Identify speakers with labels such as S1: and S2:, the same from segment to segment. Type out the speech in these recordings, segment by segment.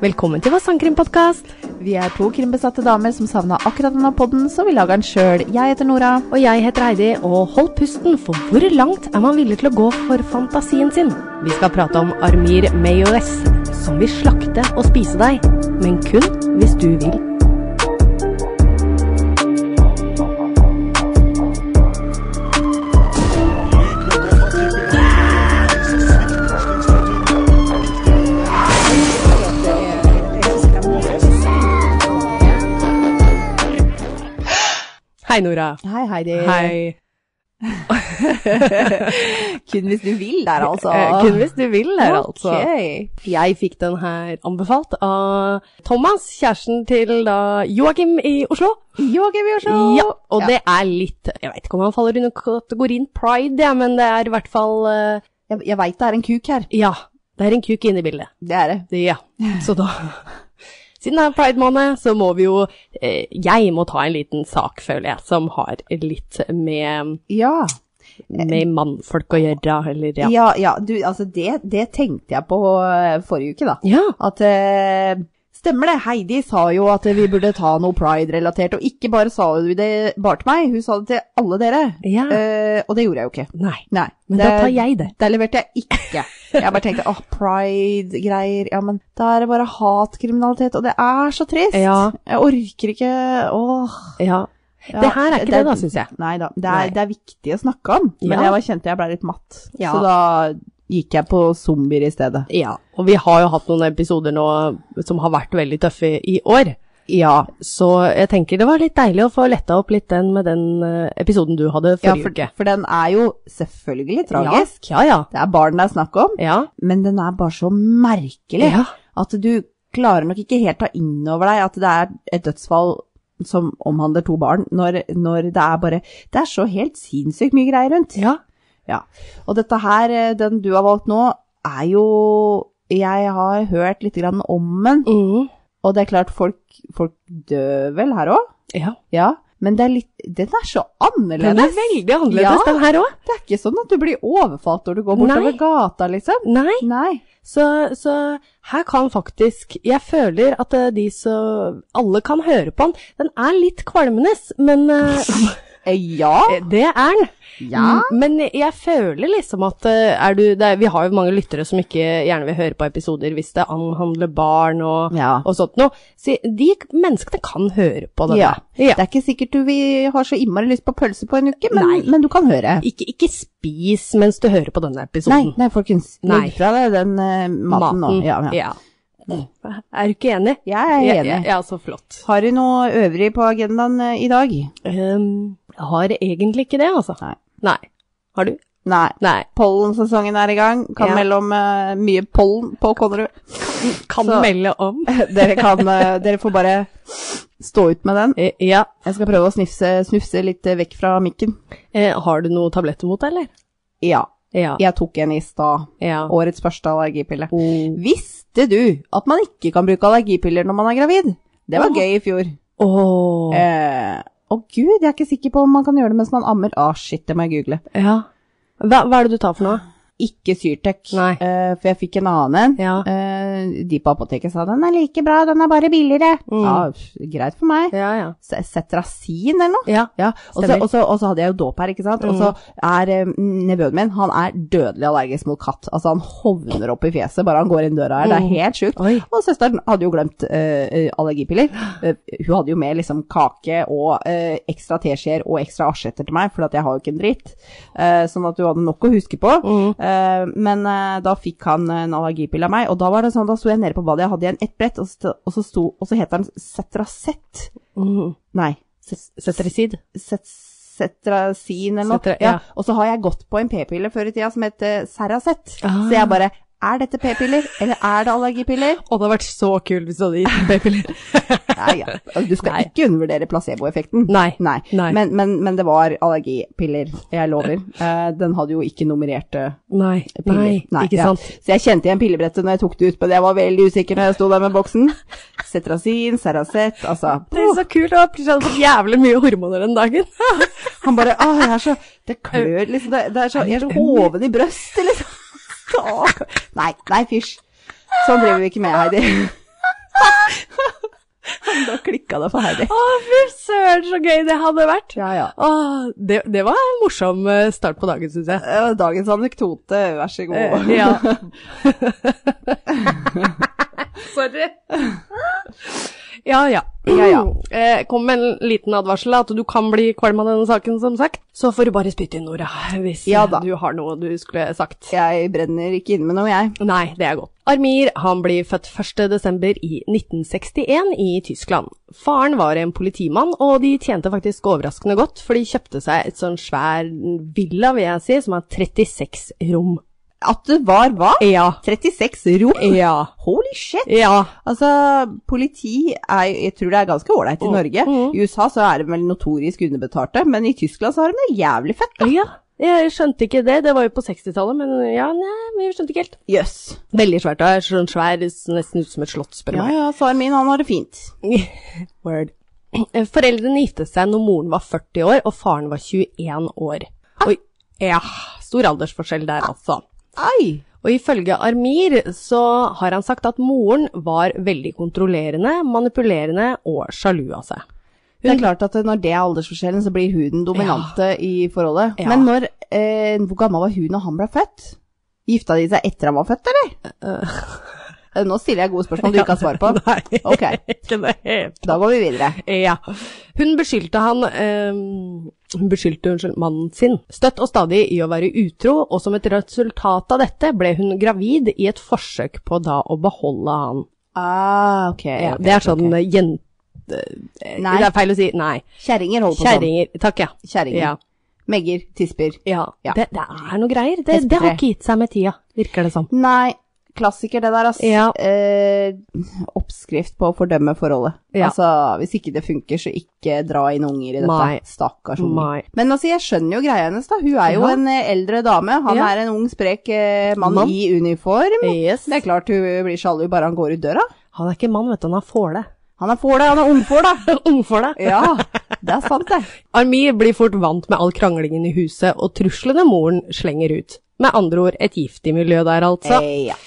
S1: Velkommen til vår sangkrimpodkast.
S2: Vi er to krimbesatte damer som savna akkurat denne podden, så vi lager den sjøl. Jeg heter Nora.
S1: Og jeg heter Heidi, og hold pusten, for hvor langt er man villig til å gå for fantasien sin? Vi skal prate om Armir Mayores, som vil slakte og spise deg, men kun hvis du vil. Hei, Nora.
S2: Hei, Heidi.
S1: Hei.
S2: Kun hvis du vil der, altså.
S1: Eh, kun hvis du vil her, altså.
S2: Ok.
S1: Jeg fikk den her anbefalt av Thomas, kjæresten til da Joakim i Oslo.
S2: Yoga Bjørsson.
S1: Ja, og det er litt Jeg vet ikke om han faller under kategorien pride, ja, men det er i hvert fall eh,
S2: Jeg, jeg veit det er en kuk her.
S1: Ja, det er en kuk inne i bildet.
S2: Det er det.
S1: Det, ja. Så da Siden det er pride-måned, så må vi jo eh, Jeg må ta en liten sak, føler jeg, som har litt med,
S2: Ja.
S1: med mannfolk å gjøre, eller ja.
S2: Ja, ja. Du, altså, det, det tenkte jeg på eh, forrige uke, da.
S1: Ja.
S2: At eh, Stemmer det, Heidi sa jo at vi burde ta noe pride-relatert, og ikke bare sa hun det bare til meg, hun sa det til alle dere.
S1: Ja.
S2: Eh, og det gjorde jeg jo ikke.
S1: Nei.
S2: Nei.
S1: Men da tar jeg det.
S2: Der leverte jeg ikke. Jeg bare tenkte åh, pride-greier, ja men da er det bare hatkriminalitet, og det er så trist.
S1: Ja.
S2: Jeg orker ikke, åh.
S1: Ja.
S2: Ja,
S1: Det her er ikke det, da, syns jeg.
S2: Nei da, det
S1: Nei.
S2: er, det er viktig å snakke om, men
S1: Ja.
S2: jeg var kjente jeg ble litt matt.
S1: Ja.
S2: Så da gikk jeg på zombier i stedet.
S1: Ja, og vi har jo hatt noen episoder nå som har vært veldig tøffe i år. Ja, så jeg tenker det var litt deilig å få letta opp litt den med den eh, episoden du hadde
S2: Ja,
S1: forrige
S2: for,
S1: uke.
S2: for den er jo selvfølgelig tragisk.
S1: Ja, ja.
S2: Det er barn det er snakk om,
S1: Ja.
S2: men den er bare så
S1: ja.
S2: merkelig.
S1: ja.
S2: at du klarer nok ikke helt ta inn over deg at det er et dødsfall som omhandler to barn, når, når det er bare Det er så helt sinnssykt mye greier rundt.
S1: ja.
S2: Ja. Og dette her, eh, den du har valgt nå, er jo Jeg har hørt litt grann om den,
S1: Mm.
S2: og det er klart folk, folk dør vel her òg?
S1: ja.
S2: Ja. Men det er litt, den er så
S1: Den
S2: annerledes.
S1: er veldig annerledes,
S2: Ja.
S1: den her òg.
S2: Det er ikke sånn at du blir overfalt når du går bortover
S1: Nei.
S2: gata, liksom.
S1: Nei.
S2: Nei.
S1: Så, så her kan faktisk Jeg føler at eh, de som Alle kan høre på den. Den er litt kvalmende, men eh,
S2: Eh, Ja.
S1: det er den.
S2: Ja.
S1: Mm, Men jeg føler liksom at eh, er du, det er, Vi har jo mange lyttere som ikke gjerne vil høre på episoder hvis det anhandler barn og,
S2: Mm. ja.
S1: og sånt noe. Så de menneskene kan høre på det.
S2: Ja.
S1: der.
S2: Det er ikke sikkert du vil ha så innmari lyst på pølse på en uke,
S1: Nei.
S2: men, men du kan høre.
S1: Ikke, ikke spis mens du hører på denne
S2: Nei,
S1: episoden.
S2: nei, folkens.
S1: Nei.
S2: Legg fra deg den eh, maten, nå. Ja, ja.
S1: Ja. Er du ikke enig?
S2: Jeg er
S1: Ja,
S2: enig.
S1: ja, så flott.
S2: Har du noe øvrig på agendaen eh, i dag?
S1: Um, jeg har egentlig ikke det, altså.
S2: Nei.
S1: Nei. Har du?
S2: Nei.
S1: Nei.
S2: Pollensesongen er i gang. Kan
S1: Ja.
S2: melde om eh, mye pollen på Konnerud.
S1: Kan
S2: Så-
S1: melde om.
S2: dere, kan, eh, dere får bare stå ut med den.
S1: Eh, Ja.
S2: Jeg skal prøve å snifse, snufse litt eh, vekk fra mikken.
S1: Eh, Har du noen tabletter mot deg, eller?
S2: Ja,
S1: Ja.
S2: jeg tok en i stad.
S1: ja.
S2: Årets første allergipille.
S1: Oh.
S2: Visste du at man ikke kan bruke allergipiller når man er gravid? Det var
S1: Åh.
S2: gøy i fjor.
S1: Åh,
S2: Eh, å gud, jeg er ikke sikker på om man kan gjøre det mens man ammer. Ah, shit, det må jeg google.
S1: ja. Hva, hva er det du tar for noe?
S2: Ikke Syrtec,
S1: Nei.
S2: eh, for jeg fikk en annen en.
S1: Ja.
S2: Eh, de på apoteket sa den er like bra, den er bare billigere.
S1: Mm.
S2: Ja, pff, greit for meg.
S1: Ja, ja.
S2: Se- Cetrazin eller noe?
S1: Ja,
S2: Ja, og så-
S1: Stemmer. Mm.
S2: og så og så hadde jeg jo dåp her, ikke sant? Og så er eh, nevøen min, han er dødelig allergisk mot katt. Altså han hovner opp i fjeset bare han går inn døra her, det
S1: Mm.
S2: er helt sjukt.
S1: Oi.
S2: Og søsteren hadde jo glemt eh, allergipiller. Eh, hun hadde jo med liksom kake og eh, ekstra teskjeer og ekstra asjetter til meg, for at jeg har jo ikke en dritt. Eh, sånn at hun hadde nok å huske på.
S1: Mm,
S2: Eh, men eh, da fikk han en allergipille av meg, og da var det sånn, da sto jeg nede på badet, jeg hadde igjen ett brett, og, st og så sto, og så heter den Cetracet.
S1: Mm.
S2: Nei,
S1: Setter i sid.
S2: Cet- Cetrasin eller noe.
S1: Cetra-
S2: ja.
S1: ja.
S2: Og så har jeg gått på en p-pille før i tida som heter Serracet.
S1: Ah.
S2: Så jeg bare, er dette p-piller, eller er det allergipiller?
S1: Å, det hadde vært så kult hvis du hadde gitt p-piller.
S2: Nei, ja. Altså, Du skal
S1: Nei.
S2: ikke undervurdere placeboeffekten.
S1: Nei.
S2: Nei.
S1: Nei.
S2: Men, men, men det var allergipiller, jeg lover. Eh, den hadde jo ikke nummererte
S1: Nei,
S2: piller.
S1: nei, ikke
S2: ja.
S1: sant.
S2: Så jeg kjente igjen pillebrettet når jeg tok det ut, men jeg var veldig usikker når jeg sto der med boksen. Cetrazin, Serracet, altså.
S1: Det er så kult, og plutselig hadde jeg fått jævlig mye hormoner den dagen.
S2: Han bare Å, jeg er så Det klør, liksom. Det, det er så, jeg er så hoven i brøstet, liksom. Åh. Nei, nei, fysj. Sånn driver vi ikke med, Heidi. Da klikka det for Heidi.
S1: Å, fy søren, så gøy det hadde vært!
S2: Ja, ja.
S1: Å, det, det var en morsom eh, start på dagen, syns jeg.
S2: Eh, Dagens anekdote, vær så god.
S1: Eh, Ja.
S2: Sorry.
S1: ja, ja.
S2: Ja, ja.
S1: Eh, Kom med en liten advarsel, da, at du kan bli kvalm av denne saken, som sagt. Så får du bare spytte inn, Nora, hvis
S2: Ja
S1: eh,
S2: da.
S1: du har noe du skulle sagt.
S2: Jeg brenner ikke inne med noe, jeg.
S1: Nei, det er godt. Armir han blir født 1. desember i 1961 i Tyskland. Faren var en politimann, og de tjente faktisk overraskende godt, for de kjøpte seg et sånn svær villa, vil jeg si, som har 36 rom.
S2: At det var hva?
S1: Ja.
S2: 36 rom?
S1: Ja.
S2: Holy shit!
S1: Ja.
S2: Altså, politi er jo Jeg tror det er ganske ålreit i Norge. I USA så er de vel notorisk underbetalte, men i Tyskland så har de det jævlig fett.
S1: ja. Jeg skjønte ikke det, det var jo på 60-tallet, men ja, nei, jeg skjønte ikke helt.
S2: Jøss. Yes.
S1: Veldig svært, og sånn svær, nesten ut som et slott, spør du
S2: Ja
S1: meg.
S2: ja, far min, han har det fint.
S1: Word. Foreldrene giftet seg når moren var 40 år og faren var 21 år. Oi, ja, stor aldersforskjell der altså.
S2: Ai!
S1: Og ifølge Armir så har han sagt at moren var veldig kontrollerende, manipulerende og sjalu av seg.
S2: Det er klart at når det er aldersforskjellen, så blir hun dominante i forholdet.
S1: Ja.
S2: Men når, eh, hvor gammel var hun når han ble født? Gifta de seg etter han var født, eller? Eh, Nå stiller jeg gode spørsmål du ikke har svar på.
S1: Nei,
S2: Ok.
S1: ikke det helt.
S2: Da går vi videre.
S1: Ja. Hun beskyldte han ehm, Hun beskyldte unnskyld, mannen sin støtt og stadig i å være utro, og som et resultat av dette ble hun gravid i et forsøk på da å beholde han.
S2: Ah, ok.
S1: Ja,
S2: ok,
S1: det er
S2: ok, ok.
S1: sånn okay. jente...
S2: Nei.
S1: Det er feil å si. Nei.
S2: Kjerringer holder på sånn.
S1: Kjerringer. Takk, ja.
S2: Kjerringer.
S1: Ja.
S2: Megger, tisper.
S1: ja.
S2: Ja.
S1: Det, det er noe greier. Det, det har ikke gitt seg med tida, virker det som.
S2: Nei, klassiker det der, ass.
S1: Ja.
S2: Eh, oppskrift på å fordømme forholdet.
S1: Ja.
S2: Altså, hvis ikke det funker, så ikke dra inn unger i dette.
S1: Nei.
S2: Stakkars unger.
S1: Nei.
S2: Men altså, jeg skjønner jo greia hennes, da. Hun er jo
S1: Ja.
S2: en eh, eldre dame. Han
S1: Ja.
S2: er en ung, sprek eh, mann
S1: Mann.
S2: i uniform.
S1: Yes.
S2: Det er klart hun blir sjalu bare han går ut døra.
S1: Han er ikke mann, vet du. Han er fåle.
S2: Han er fåle, han er ungfåle.
S1: Ungfåle.
S2: Ja, det er sant, det.
S1: Armir blir fort vant med all kranglingen i huset og truslene moren slenger ut. Med andre ord et giftig miljø der, altså.
S2: Eh, ja.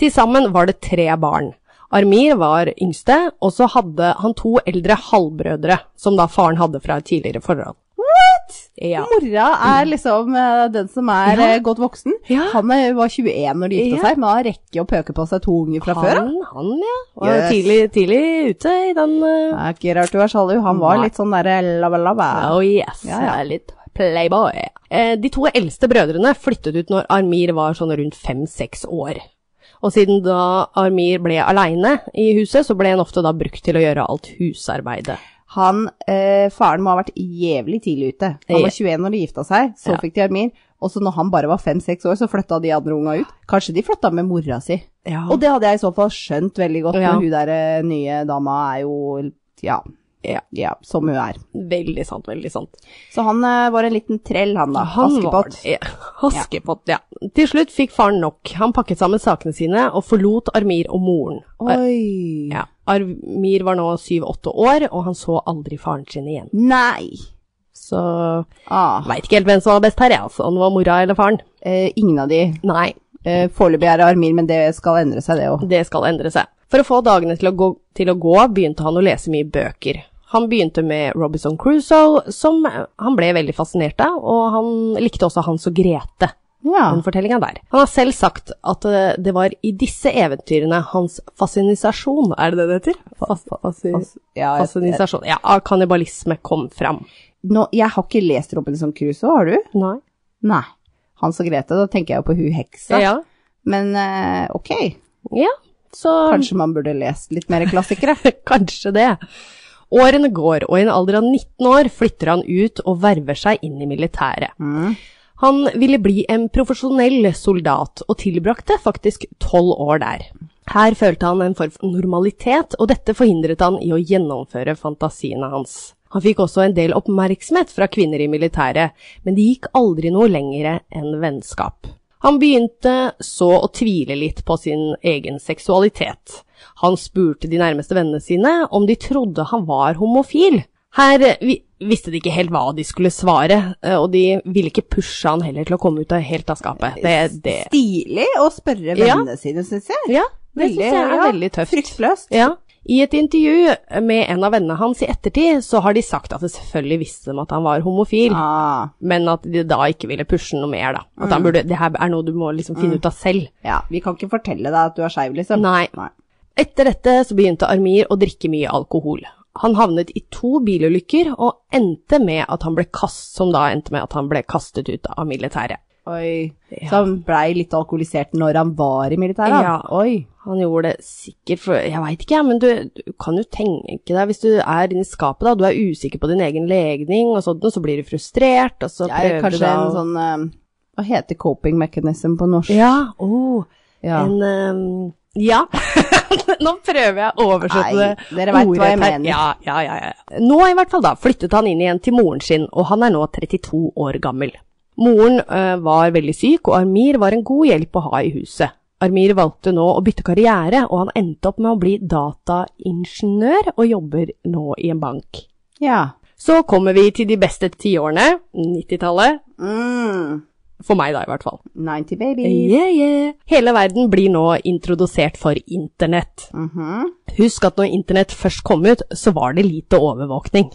S1: Til sammen var det tre barn. Armir var yngste, og så hadde han to eldre halvbrødre, som da faren hadde fra et tidligere forhold. What?! Ja.
S2: Mora er liksom eh, den som er
S1: Ja.
S2: eh, godt voksen.
S1: Ja.
S2: Han eh, var 21 når de gifta
S1: Ja.
S2: seg, men han rekker å pøke på seg to unger fra før. da.
S1: Han, han, ja. Var
S2: Yes.
S1: tidlig, tidlig ute i den eh,
S2: Det er ikke rart du er sjalu. Han var
S1: Nei.
S2: litt sånn derre lava-lava.
S1: Oh yes,
S2: Ja, ja.
S1: jeg er litt playboy. Eh, de to eldste brødrene flyttet ut når Armir var sånn rundt fem-seks år. Og siden da Armir ble aleine i huset, så ble han ofte da brukt til å gjøre alt husarbeidet.
S2: Han, eh, faren må ha vært jævlig tidlig ute. Han var 21 når de gifta seg, så
S1: Ja.
S2: fikk de Armin. Og så når han bare var fem-seks år, så flytta de andre unga ut. Kanskje de flytta med mora si.
S1: Ja.
S2: Og det hadde jeg i så fall skjønt veldig godt,
S1: Ja.
S2: når hun der eh, nye dama er jo ja,
S1: Ja.
S2: ja, som hun er.
S1: Veldig sant, veldig sant.
S2: Så han eh, var en liten trell, han da.
S1: Var,
S2: Askepott.
S1: ja, Askepott, ja. Til slutt fikk faren nok. Han pakket sammen sakene sine og forlot Armir og moren. Ar
S2: Oi.
S1: ja. Armir var nå syv-åtte år, og han så aldri faren sin igjen.
S2: Nei.
S1: Så
S2: Ah.
S1: veit ikke helt hvem som var best her, jeg, altså. Om det var mora eller faren.
S2: Eh, ingen av de.
S1: Nei,
S2: Eh, Foreløpig er det Armin, men det skal endre seg, det òg.
S1: det skal endre seg. For å få dagene til å, gå, til å gå, begynte han å lese mye bøker. Han begynte med Robinson Crusoe, som eh, han ble veldig fascinert av, og han likte også Hans og Grete,
S2: Ja.
S1: den fortellingen der. Han har selv sagt at eh, det var i disse eventyrene hans fascinisasjon, er det det det heter? Fas, fasi-
S2: fas- ja, jeg-
S1: fascinisasjon, ja, av kannibalisme kom fram.
S2: Nå, jeg har ikke lest Robinson Crusoe, har du?
S1: Nei.
S2: Nei. Hans og Grete, da tenker jeg jo på hun heksa.
S1: Ja.
S2: Men eh, ok,
S1: ja, så
S2: kanskje man burde lest litt mer klassikere.
S1: Kanskje det. Årene går, og i en alder av 19 år flytter han ut og verver seg inn i militæret. Han ville bli en profesjonell soldat, og tilbrakte faktisk tolv år der. Her følte han en form for normalitet, og dette forhindret han i å gjennomføre fantasiene hans. Han fikk også en del oppmerksomhet fra kvinner i militæret, men det gikk aldri noe lengre enn vennskap. Han begynte så å tvile litt på sin egen seksualitet. Han spurte de nærmeste vennene sine om de trodde han var homofil. Her eh, vi visste de ikke helt hva de skulle svare, eh, og de ville ikke pushe han heller til å komme ut av helt av skapet. Det, det,
S2: Stilig å spørre
S1: Ja.
S2: vennene sine, syns jeg.
S1: ja, det synes jeg er
S2: ja,
S1: veldig tøft.
S2: Fryktløst.
S1: Ja. I et intervju med en av vennene hans i ettertid, så har de sagt at det selvfølgelig visste de at han var homofil,
S2: Ah,
S1: men at de da ikke ville pushe noe mer, da. At han burde Det her er noe du må liksom finne ut av selv.
S2: ja. Vi kan ikke fortelle deg at du er skeiv, liksom.
S1: Nei. Etter dette så begynte Armir å drikke mye alkohol. Han havnet i to bilulykker og endte med at han ble kast, som da endte med at han ble kastet ut av militæret.
S2: Oi. Så han blei litt alkoholisert når han var i militæret? han?
S1: Ja.
S2: Oi.
S1: Han gjorde det sikkert for Jeg veit ikke, jeg, men du, du kan jo tenke deg Hvis du er inni skapet, da, du er usikker på din egen legning og sånn, og så blir du frustrert, og så
S2: Det
S1: prøver
S2: er
S1: du
S2: kanskje
S1: da
S2: en
S1: å-
S2: sånn eh, Hva heter coping mechanism på norsk?
S1: Ja, oh,
S2: Ja.
S1: en ehm, Ja. Nå prøver jeg å oversette
S2: Nei,
S1: det.
S2: dere vet hva jeg
S1: ordrett her.
S2: mener.
S1: Ja, ja, ja, ja. Nå i hvert fall, da, flyttet han inn igjen til moren sin, og han er nå 32 år gammel. Moren eh, var veldig syk, og Armir var en god hjelp å ha i huset. Armir valgte nå å bytte karriere, og han endte opp med å bli dataingeniør og jobber nå i en bank.
S2: ja.
S1: Så kommer vi til de beste tiårene, 90-tallet,
S2: Mm.
S1: for meg da i hvert fall.
S2: 90 babies.
S1: Yeah, yeah. Hele verden blir nå introdusert for internett.
S2: Mhm.
S1: Husk at når internett først kom ut, så var det lite overvåkning.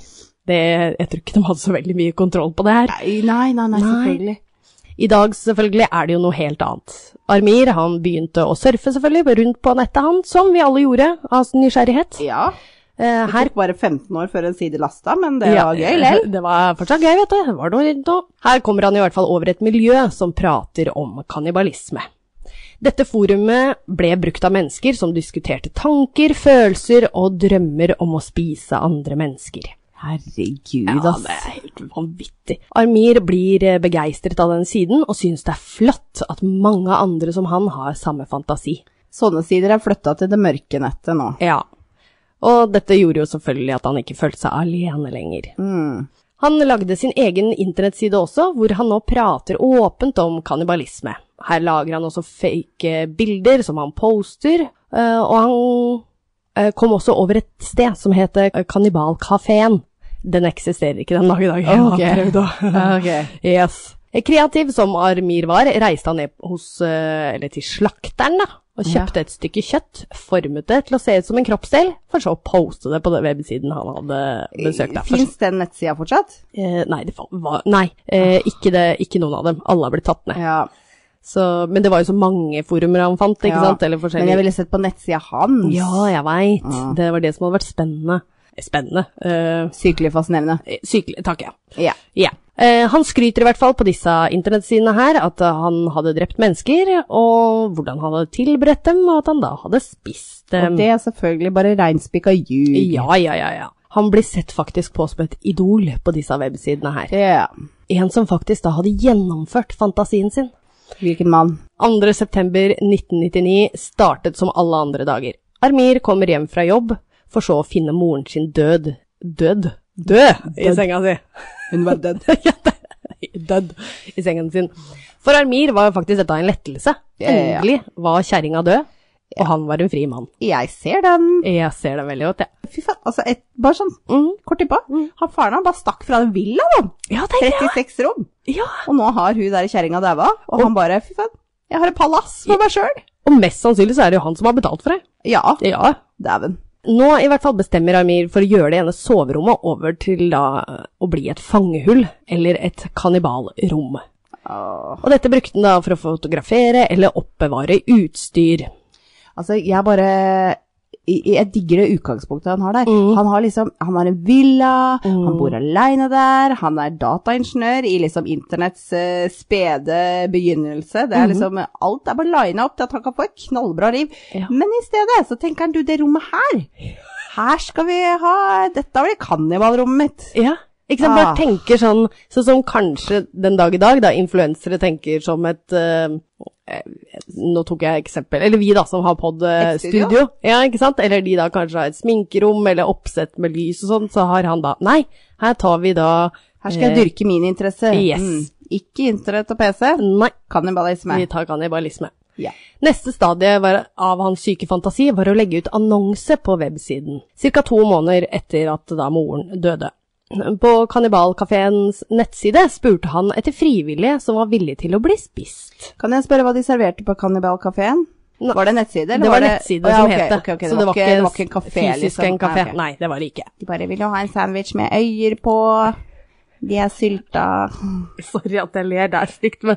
S1: Det, jeg tror ikke de hadde så veldig mye kontroll på det her.
S2: Nei, nei, nei, nei, selvfølgelig.
S1: I dag selvfølgelig er det jo noe helt annet. Armir han begynte å surfe selvfølgelig rundt på nettet han, som vi alle gjorde av nysgjerrighet.
S2: Ja.
S1: Eh,
S2: Det tok bare 15 år før en side lasta, men det var
S1: Ja,
S2: gøy, lell.
S1: Det var fortsatt gøy, vet du. Det Var noe, noe. Her kommer han i hvert fall over et miljø som prater om kannibalisme. Dette forumet ble brukt av mennesker som diskuterte tanker, følelser og drømmer om å spise andre mennesker.
S2: Herregud,
S1: Ja, det er helt vanvittig. Armir blir eh, begeistret av den siden, og synes det er flott at mange andre som han har samme fantasi.
S2: Sånne sider er flytta til det mørke nettet nå.
S1: Ja. Og dette gjorde jo selvfølgelig at han ikke følte seg alene lenger.
S2: Mm.
S1: Han lagde sin egen internettside også, hvor han nå prater åpent om kannibalisme. Her lager han også fake eh, bilder som han poster, eh, og han eh, kom også over et sted som heter Kannibalkafeen. Den eksisterer ikke den dag i dag. Jeg har
S2: Ok.
S1: prøvd å- Yes. Kreativ som Armir var, reiste han ned hos, eh, eller til slakteren da, og
S2: Ja.
S1: kjøpte et stykke kjøtt, formet det til å se ut som en kroppsdel, for så å poste det på den websiden han hadde besøkt. da. For-
S2: Fins den nettsida fortsatt?
S1: Eh, nei, det fa- var, nei eh, ikke, det, ikke noen av dem. Alle har blitt tatt ned.
S2: Ja.
S1: Så, men det var jo så mange forumer han fant, ikke
S2: Ja.
S1: sant? Eller
S2: Men jeg
S1: forskjellige.
S2: ville sett på nettsida hans.
S1: Ja, jeg veit. Det var det som hadde vært spennende. Eh, Spennende. Eh,
S2: Sykelig fascinerende.
S1: sykelig, takk, ja.
S2: Ja.
S1: Ja. Eh, han skryter i hvert fall på disse internettsidene her at eh, han hadde drept mennesker, og hvordan han hadde tilberedt dem, og at han da hadde spist
S2: Og
S1: dem.
S2: det er selvfølgelig bare reinspikka ljug.
S1: Ja, ja, ja, ja. Han blir sett faktisk på som et idol på disse websidene her.
S2: Ja.
S1: En som faktisk da hadde gjennomført fantasien sin.
S2: Hvilken mann?
S1: 2. september 1999 startet som alle andre dager. Armir kommer hjem fra jobb, for så å finne moren sin død. Død? Død i senga si.
S2: Hun var død.
S1: Ja, det- dødd i sengen sin. For Armir var jo faktisk dette en lettelse.
S2: Ja, ja, ja.
S1: Endelig var kjerringa død, og han var en fri mann.
S2: Jeg ser den.
S1: Jeg ser det veldig godt, jeg.
S2: Fy faen. Altså, et, bare sånn kort innpå. Han faren han bare stakk fra en villa, da.
S1: Ja, tenk det.
S2: 36 rom.
S1: Ja.
S2: Og nå har hun der kjerringa daua, og han bare Fy faen, jeg har et palass for meg sjøl.
S1: Og mest sannsynlig så er det jo han som har betalt for det.
S2: Ja,
S1: Ja.
S2: dæven.
S1: Nå i hvert fall bestemmer Armir for å gjøre det ene soverommet over til da å bli et fangehull, eller et kannibalrom.
S2: Åh.
S1: Og dette brukte han da for å fotografere eller oppbevare utstyr.
S2: Altså, jeg bare jeg jeg digger det utgangspunktet han har der. Han har liksom, han har en villa, han bor aleine der, han er dataingeniør i liksom internetts eh, spede begynnelse. Det er liksom, alt er bare lina opp til at han kan få et knallbra liv.
S1: Ja.
S2: Men i stedet så tenker han, du, det rommet her, her skal vi ha, dette blir kannibalrommet mitt.
S1: Ja. Ikke sant? Bare
S2: Ah.
S1: tenker sånn, sånn som kanskje den dag i dag, da influensere tenker som et eh, eh, Nå tok jeg eksempel Eller vi, da, som har pod eh,
S2: Et studio?
S1: studio. Ja, ikke sant? Eller de da kanskje har et sminkerom eller oppsett med lys og sånn, så har han da Nei, her tar vi da
S2: Her skal jeg dyrke min interesse.
S1: Eh,
S2: Mm.
S1: Yes.
S2: Ikke internett og PC,
S1: Nei,
S2: kannibalisme.
S1: vi tar kannibalisme.
S2: Ja.
S1: Neste stadie var, av hans syke fantasi var å legge ut annonse på websiden, ca. to måneder etter at da moren døde. På Kannibalkafeens nettside spurte han etter frivillige som var villige til å bli spist.
S2: Kan jeg spørre hva de serverte på kannibalkafeen?
S1: Nei.
S2: Var det en nettside? eller
S1: Det var
S2: det-
S1: nettside
S2: Å, ja,
S1: som
S2: ok,
S1: het det.
S2: ok, ok,
S1: så det var ikke,
S2: det var ikke en kafé,
S1: fysisk
S2: liksom.
S1: en kafé.
S2: Nei, ok.
S1: Nei, det var det ikke.
S2: De bare vil jo ha en sandwich med øyer på. De er sylta.
S1: Sorry at jeg ler, det er stygt, men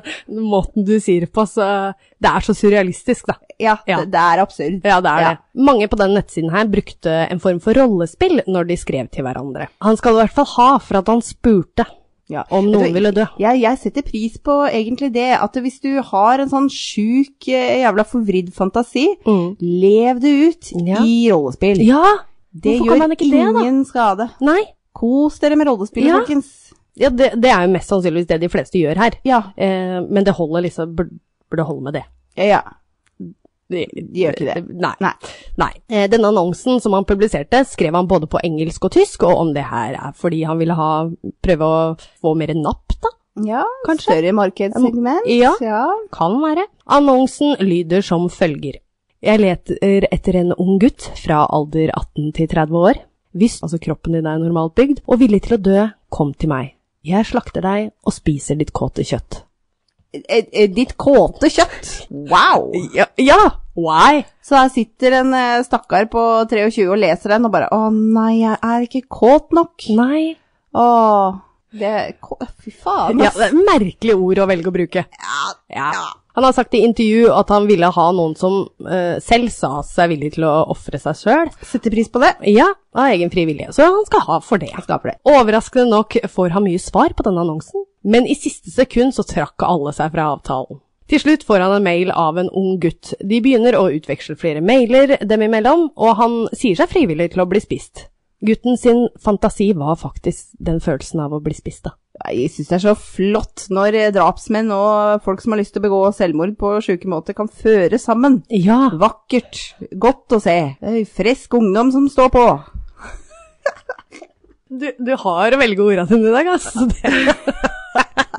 S1: måten du sier det på, så Det er så surrealistisk, da.
S2: Ja,
S1: Ja.
S2: Det, det er absurd.
S1: Ja, det er
S2: Ja.
S1: det. Mange på den nettsiden her brukte en form for rollespill når de skrev til hverandre. Han skal i hvert fall ha for at han spurte
S2: Ja.
S1: om noen
S2: Vet du,
S1: ville dø.
S2: Jeg, jeg setter pris på egentlig det, at hvis du har en sånn sjuk, eh, jævla forvridd fantasi,
S1: Mm.
S2: lev det ut
S1: Ja.
S2: i rollespill.
S1: Ja,
S2: det
S1: hvorfor
S2: gjør
S1: kan man ikke det, da?
S2: ingen skade.
S1: Nei.
S2: Kos dere med rollespill,
S1: Ja.
S2: folkens.
S1: Ja, det, det er jo mest sannsynligvis det de fleste gjør her.
S2: Ja,
S1: Eh, men det holder liksom Burde, burde holde med det.
S2: ja, ja.
S1: De
S2: gjør ikke det.
S1: Nei.
S2: Nei.
S1: Nei. Eh, Denne annonsen som han publiserte, skrev han både på engelsk og tysk, og om det her er fordi han ville ha, prøve å få mer napp, da?
S2: Ja,
S1: Kanskje.
S2: større markedssegment.
S1: Ja.
S2: ja.
S1: Kan være. Annonsen lyder som følger. Jeg leter etter en ung gutt fra alder 18 til 30 år. Hvis altså kroppen din er normalt bygd og villig til å dø, kom til meg. Jeg slakter deg og spiser ditt kåte kjøtt.
S2: Eh, eh, Ditt kåte kjøtt. Wow!
S1: Ja! ja. Why?
S2: Så her sitter en eh, stakkar på 23 og leser den og bare Å nei, jeg er ikke kåt nok.
S1: Nei.
S2: Å, det kå- Fy faen,
S1: Ja,
S2: ass.
S1: det er merkelige ord å velge å bruke. Ja. Han har sagt i intervju at han ville ha noen som eh, selv sa seg villig til å ofre seg sjøl.
S2: Setter pris på det.
S1: Ja, av egen fri vilje. Så han skal ha for det.
S2: Skaper det.
S1: Overraskende nok får han mye svar på denne annonsen, men i siste sekund så trakk alle seg fra avtalen. Til slutt får han en mail av en ung gutt. De begynner å utveksle flere mailer dem imellom, og han sier seg frivillig til å bli spist. Gutten sin fantasi var faktisk den følelsen av å bli spist, da.
S2: Jeg syns det er så flott når eh, drapsmenn og folk som har lyst til å begå selvmord på sjuke måter, kan føre sammen.
S1: Ja.
S2: Vakkert. Godt å se. Det er Frisk ungdom som står på.
S1: Du, du har å velge ordene dine i dag, altså.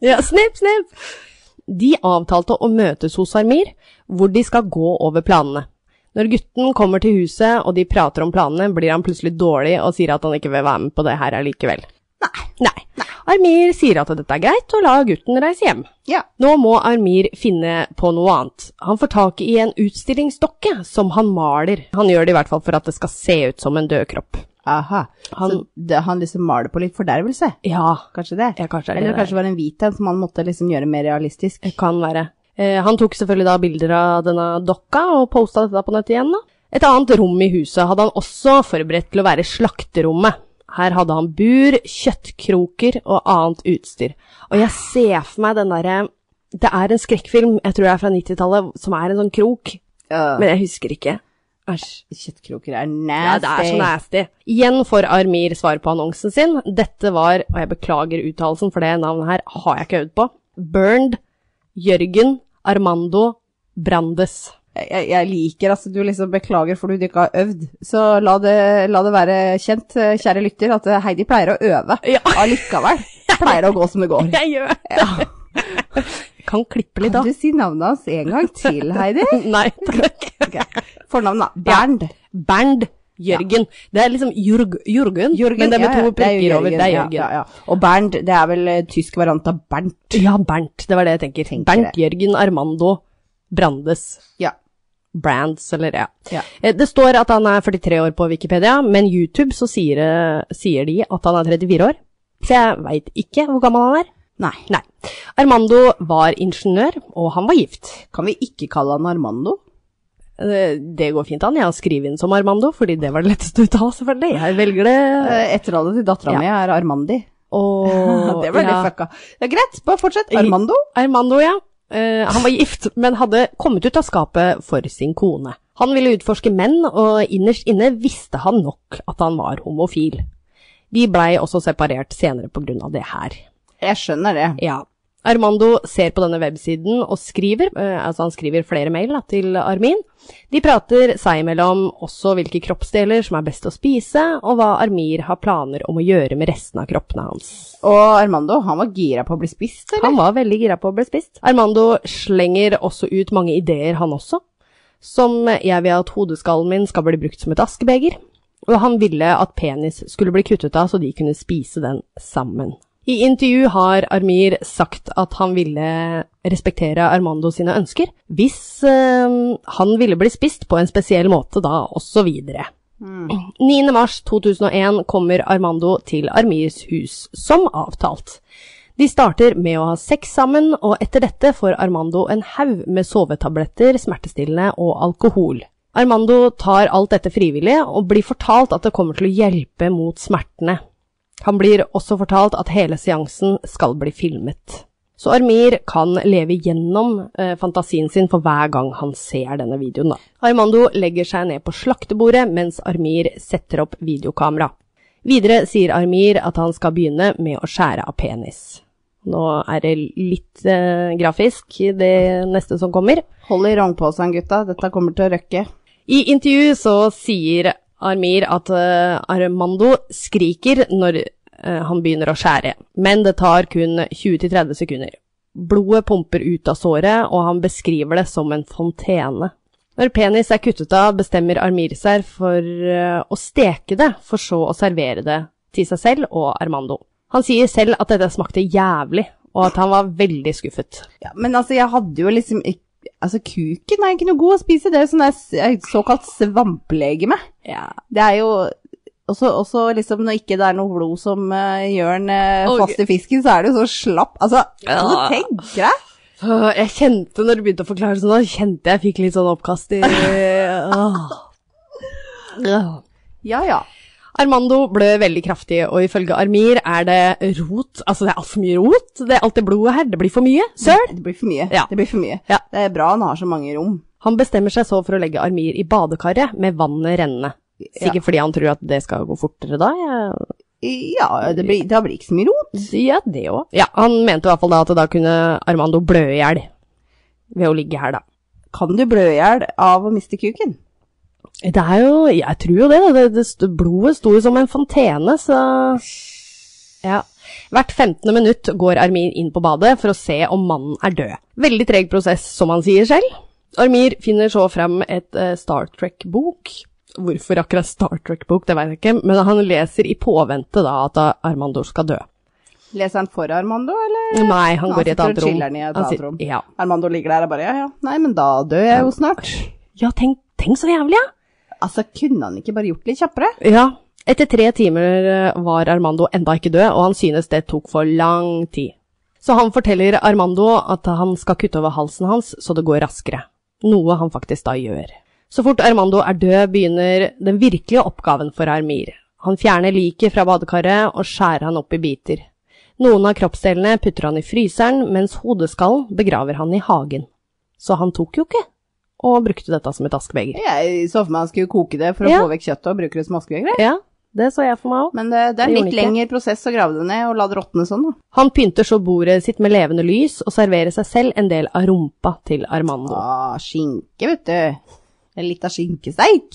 S1: ja, snipp, snipp. De avtalte å møtes hos Armir, hvor de skal gå over planene. Når gutten kommer til huset og de prater om planene, blir han plutselig dårlig og sier at han ikke vil være med på det her allikevel. Nei. Nei. Armir sier at dette er greit, og lar gutten reise hjem.
S2: Ja.
S1: Nå må Armir finne på noe annet. Han får tak i en utstillingsdokke som han maler. Han gjør det i hvert fall for at det skal se ut som en død kropp.
S2: Aha. så
S1: Han-
S2: det, han liksom maler på litt fordervelse?
S1: Ja,
S2: Kanskje det?
S1: Ja, kanskje er det
S2: Eller
S1: det
S2: kanskje det var en hvit en som han måtte liksom gjøre mer realistisk.
S1: det kan være. Eh, han tok selvfølgelig da bilder av denne dokka og posta dette på nettet igjen. da. Et annet rom i huset hadde han også forberedt til å være slakterommet. Her hadde han bur, kjøttkroker og annet utstyr. Og jeg ser for meg den derre Det er en skrekkfilm, jeg tror det er fra 90-tallet, som er en sånn krok,
S2: Øh,
S1: men jeg husker ikke. Æsj.
S2: Kjøttkroker er
S1: Ja,
S2: nasty.
S1: det er så nasty. Igjen får Armir svar på annonsen sin. Dette var, og jeg beklager uttalelsen, for det navnet her har jeg ikke øvd på, Bernd Jørgen Armando Brandes.
S2: jeg, jeg liker altså, du liksom beklager for du ikke har øvd. Så la det, la det være kjent, eh, kjære lytter, at eh, Heidi pleier å øve.
S1: Ja.
S2: Allikevel pleier det å gå som det går.
S1: Jeg gjør det! Kan klippe litt, da.
S2: Kan du si navnet hans en gang til, Heidi?
S1: Nei takk.
S2: Fornavn, da. Bernd.
S1: Bernd Jørgen. Det er liksom Jurg, Jørgen,
S2: Jørgen,
S1: men det er med
S2: ja, ja,
S1: to
S2: det er jo
S1: prikker over. Det er
S2: ja,
S1: Jørgen.
S2: Ja, ja. Og Bernd, det er vel eh, tysk variant av Bernt.
S1: Ja, Bernt. Det var det jeg tenker.
S2: Tenker
S1: Bernt Jørgen Armando Brandes.
S2: Ja.
S1: Brands, eller ja.
S2: Ja.
S1: Eh, Det står at han er 43 år på Wikipedia, men YouTube så sier, det- sier de at han er 34 år. Så jeg veit ikke hvor gammel han er.
S2: Nei.
S1: Nei. Armando var ingeniør, og han var gift.
S2: Kan vi ikke kalle han Armando?
S1: Eh, Det går fint an, jeg har skrevet inn som Armando, fordi det var det letteste å ta, selvfølgelig. Jeg velger
S2: Eh,
S1: det.
S2: Etternavnet til dattera
S1: Ja.
S2: mi er Armandi.
S1: Og
S2: det ble
S1: ja.
S2: litt fucka. Det er greit, bare fortsett. Armando?
S1: Armando, ja. Eh, han var gift, men hadde kommet ut av skapet for sin kone. Han ville utforske menn, og innerst inne visste han nok at han var homofil. De blei også separert senere på grunn av det her.
S2: Jeg skjønner det.
S1: Ja. Armando ser på denne websiden og skriver, eh, altså han skriver flere mail da, til Armin. De prater seg imellom også hvilke kroppsdeler som er best å spise, og hva Armir har planer om å gjøre med resten av kroppene hans.
S2: Og Armando, han var gira på å bli spist, eller?
S1: Han var veldig gira på å bli spist. Armando slenger også ut mange ideer, han også. Som jeg vil at hodeskallen min skal bli brukt som et askebeger. Og han ville at penis skulle bli kuttet av, så de kunne spise den sammen. I intervju har Armir sagt at han ville respektere Armando sine ønsker, hvis eh, han ville bli spist på en spesiell måte da, og så videre. Mm. 9. mars 2001 kommer Armando til Armirs hus, som avtalt. De starter med å ha sex sammen, og etter dette får Armando en haug med sovetabletter, smertestillende og alkohol. Armando tar alt dette frivillig, og blir fortalt at det kommer til å hjelpe mot smertene. Han blir også fortalt at hele seansen skal bli filmet. Så Armir kan leve gjennom eh, fantasien sin for hver gang han ser denne videoen. Da. Armando legger seg ned på slaktebordet mens Armir setter opp videokamera. Videre sier Armir at han skal begynne med å skjære av penis. Nå er det litt eh, grafisk, det neste som kommer.
S2: Hold i rognposen, gutta. Dette kommer til å røkke.
S1: I intervju så sier Armir at eh, Armando skriker når eh, han begynner å skjære, men det tar kun 20-30 sekunder. Blodet pumper ut av såret, og han beskriver det som en fontene. Når penis er kuttet av, bestemmer Armir seg for eh, å steke det, for så å servere det til seg selv og Armando. Han sier selv at dette smakte jævlig, og at han var veldig skuffet.
S2: Ja, men altså, jeg hadde jo liksom ikk- Altså, kuken er ikke noe god å spise. Det er jo sånn der s- eh, såkalt svamplegeme.
S1: Ja.
S2: Det er jo også, også liksom når ikke det er noe blod som eh, gjør den eh,
S1: Oi.
S2: fast i fisken, så er det jo så slapp. Altså, kan du
S1: Ja.
S2: tenke deg?
S1: Åh, Jeg kjente, når du begynte å forklare sånn, da kjente jeg fikk litt sånn oppkast i åh. Åh.
S2: Ja, ja.
S1: Armando blør veldig kraftig, og ifølge Armir er det rot. Altså, det er altfor mye rot. Det er alt det blodet her. Det blir for mye. Søl!
S2: Det blir for mye.
S1: Ja.
S2: Det blir for mye.
S1: Ja.
S2: Det er bra han har så mange rom.
S1: Han bestemmer seg så for å legge Armir i badekaret med vannet rennende. Sikkert fordi han tror at det skal gå fortere da. Jeg
S2: Ja, det blir, da blir det ikke så mye rom.
S1: sier det òg. Ja, han mente i hvert fall da at da kunne Armando blø i hjel ved å ligge her, da.
S2: Kan du blø i hjel av å miste kuken?
S1: Det er jo Jeg tror jo det. da. det, det st- blodet sto jo som en fontene, så Ja. Hvert 15. minutt går Armir inn på badet for å se om mannen er død. Veldig treg prosess, som han sier selv. Armir finner så frem et eh, Star Trek-bok. Hvorfor akkurat Star Trek-bok, det vet jeg ikke, men han leser i påvente da at Armando skal dø.
S2: Leser han for Armando, eller?
S1: Nei, han går i et
S2: sitter og
S1: annet rom.
S2: chiller i et
S1: Han
S2: annet
S1: sit-
S2: rom.
S1: Ja.
S2: Armando ligger der og bare ja, ja. Nei, men da dør jeg jo snart.
S1: ja, tenk, tenk så jævlig, ja.
S2: Altså, kunne han ikke bare gjort det litt kjappere?
S1: Ja, etter tre timer eh, var Armando enda ikke død, og han synes det tok for lang tid. Så han forteller Armando at han skal kutte over halsen hans, så det går raskere. Noe han faktisk da gjør. Så fort Armando er død, begynner den virkelige oppgaven for Armir. Han fjerner liket fra badekaret og skjærer han opp i biter. Noen av kroppsdelene putter han i fryseren, mens hodeskallen begraver han i hagen. Så han tok jo ikke, og brukte dette som et askebeger.
S2: Jeg så for meg han skulle koke det for å
S1: Ja.
S2: få vekk kjøttet og bruke det som askebegre.
S1: Ja, det så jeg for meg òg.
S2: Men det, det
S1: Det
S2: er
S1: gjorde han
S2: litt
S1: ikke.
S2: lengre prosess å grave det ned og la det råtne sånn, da.
S1: Han pynter så bordet sitt med levende lys og serverer seg selv en del av rumpa til Armando.
S2: Ah, skinke, vet du. En lita skinkesteik.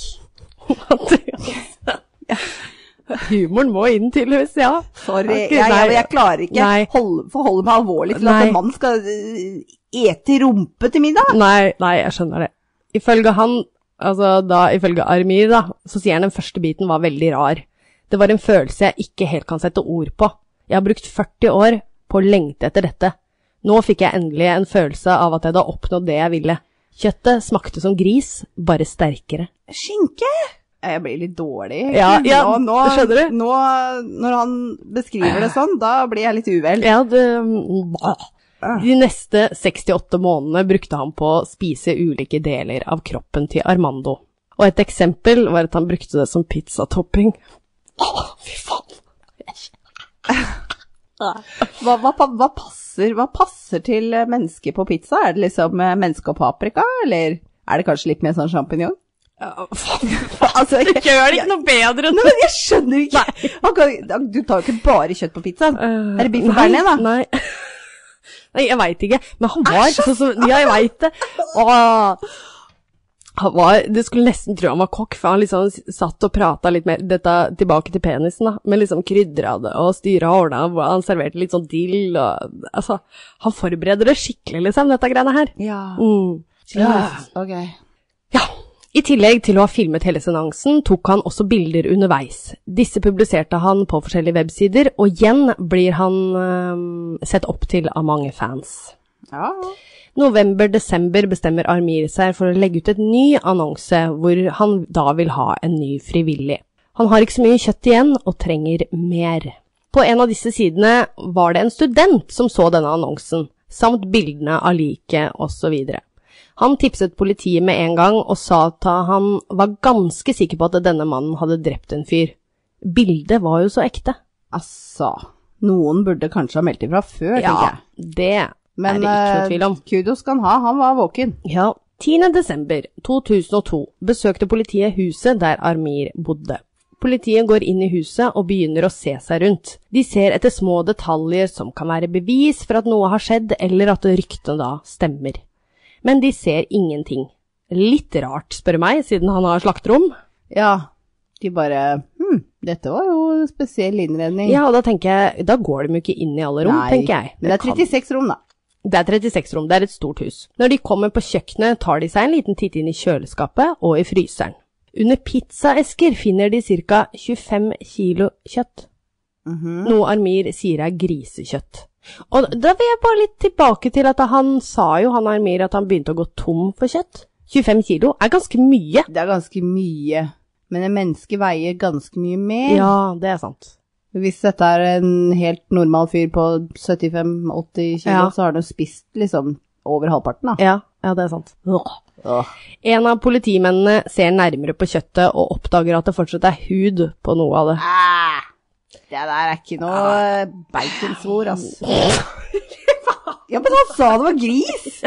S1: Humoren må inn, tydeligvis. Ja.
S2: Sorry,
S1: Ok,
S2: jeg, jeg,
S1: nei.
S2: jeg klarer ikke
S1: Nei.
S2: holde, forholde meg alvorlig til at
S1: Nei.
S2: en mann skal øh, ete rumpe til middag.
S1: Nei, nei, jeg skjønner det. Ifølge han, altså da, ifølge Armir, da, så sier han den første biten var veldig rar. Det var en følelse jeg ikke helt kan sette ord på. Jeg har brukt 40 år på å lengte etter dette. Nå fikk jeg endelig en følelse av at jeg hadde oppnådd det jeg ville. Kjøttet smakte som gris, bare sterkere.
S2: Skinke? Jeg blir litt dårlig. egentlig.
S1: Ja, ja,
S2: nå, nå,
S1: skjønner du?
S2: Nå, når han beskriver det sånn, da blir jeg litt uvel.
S1: Ja, det De neste 68 månedene brukte han på å spise ulike deler av kroppen til Armando. Og et eksempel var at han brukte det som pizzatopping. Å, fy faen!
S2: Hva, hva, pa- hva, passer, hva passer til eh, mennesker på pizza? Er det liksom eh, menneske og paprika, eller er det kanskje litt mer sånn sjampinjong?
S1: Ja, faen.
S2: Altså,
S1: Det gjør det ikke noe bedre enn
S2: Nei, men jeg skjønner ikke! Han kan- Du tar jo ikke bare kjøtt på pizzaen. Er det biff og bearnés, da?
S1: Eh, Øh, Nei. Nei, jeg veit ikke. Men han var sånn som Ja, jeg veit det. Og han var Du skulle nesten tro han var kokk, for han liksom s- satt og prata litt mer Dette tilbake til penisen, da, men liksom krydra det og styra og ordna. og Han serverte litt sånn dill og Altså, han Mm. forbereder det skikkelig, liksom, dette greiene her.
S2: Ja.
S1: Mm. Ja.
S2: Ok.
S1: ja. I tillegg til å ha filmet hele seansen, tok han også bilder underveis. Disse publiserte han på forskjellige websider, og igjen blir han eh, sett opp til av mange fans.
S2: Ja.
S1: November-desember bestemmer Armir seg for å legge ut et ny annonse, hvor han da vil ha en ny frivillig. Han har ikke så mye kjøtt igjen, og trenger mer. På en av disse sidene var det en student som så denne annonsen, samt bildene av liket osv. Han tipset politiet med en gang, og sa at han var ganske sikker på at denne mannen hadde drept en fyr. Bildet var jo så ekte.
S2: Altså, noen burde kanskje ha meldt ifra før, tenker jeg.
S1: det er
S2: Men
S1: det ikke
S2: eh,
S1: noe tvil om.
S2: kudos kan ha, han var våken.
S1: Ja, 10. desember 2002 besøkte politiet huset der Armir bodde. Politiet går inn i huset og begynner å se seg rundt. De ser etter små detaljer som kan være bevis for at noe har skjedd, eller at ryktene da stemmer. Men de ser ingenting. Litt rart, spør meg, siden han har slakterom.
S2: Ja, de bare Hm, dette var jo spesiell innredning.
S1: Ja, og da tenker jeg, da går de jo ikke inn i alle rom, tenker jeg.
S2: Men det er
S1: kan-
S2: 36 rom, da.
S1: Det er 36 rom, det er et stort hus. Når de kommer på kjøkkenet, tar de seg en liten titt inn i kjøleskapet og i fryseren. Under pizzaesker finner de ca. 25 kilo kjøtt,
S2: Mhm.
S1: noe Armir sier er grisekjøtt. Og da vil jeg bare litt tilbake til at han sa jo, han Armir, at han begynte å gå tom for kjøtt. 25 kilo er ganske mye.
S2: Det er ganske mye. Men et menneske veier ganske mye mer.
S1: Ja, det er sant.
S2: Hvis dette er en helt normal fyr på 75-80 kilo,
S1: Ja.
S2: så har han jo spist liksom over halvparten, da.
S1: Ja, ja det er sant.
S2: Åh.
S1: En av politimennene ser nærmere på kjøttet og oppdager at det fortsatt er hud på noe av det.
S2: Ah, det der er ikke noe eh, baconsvor, ass. Ja, men han sa det var gris!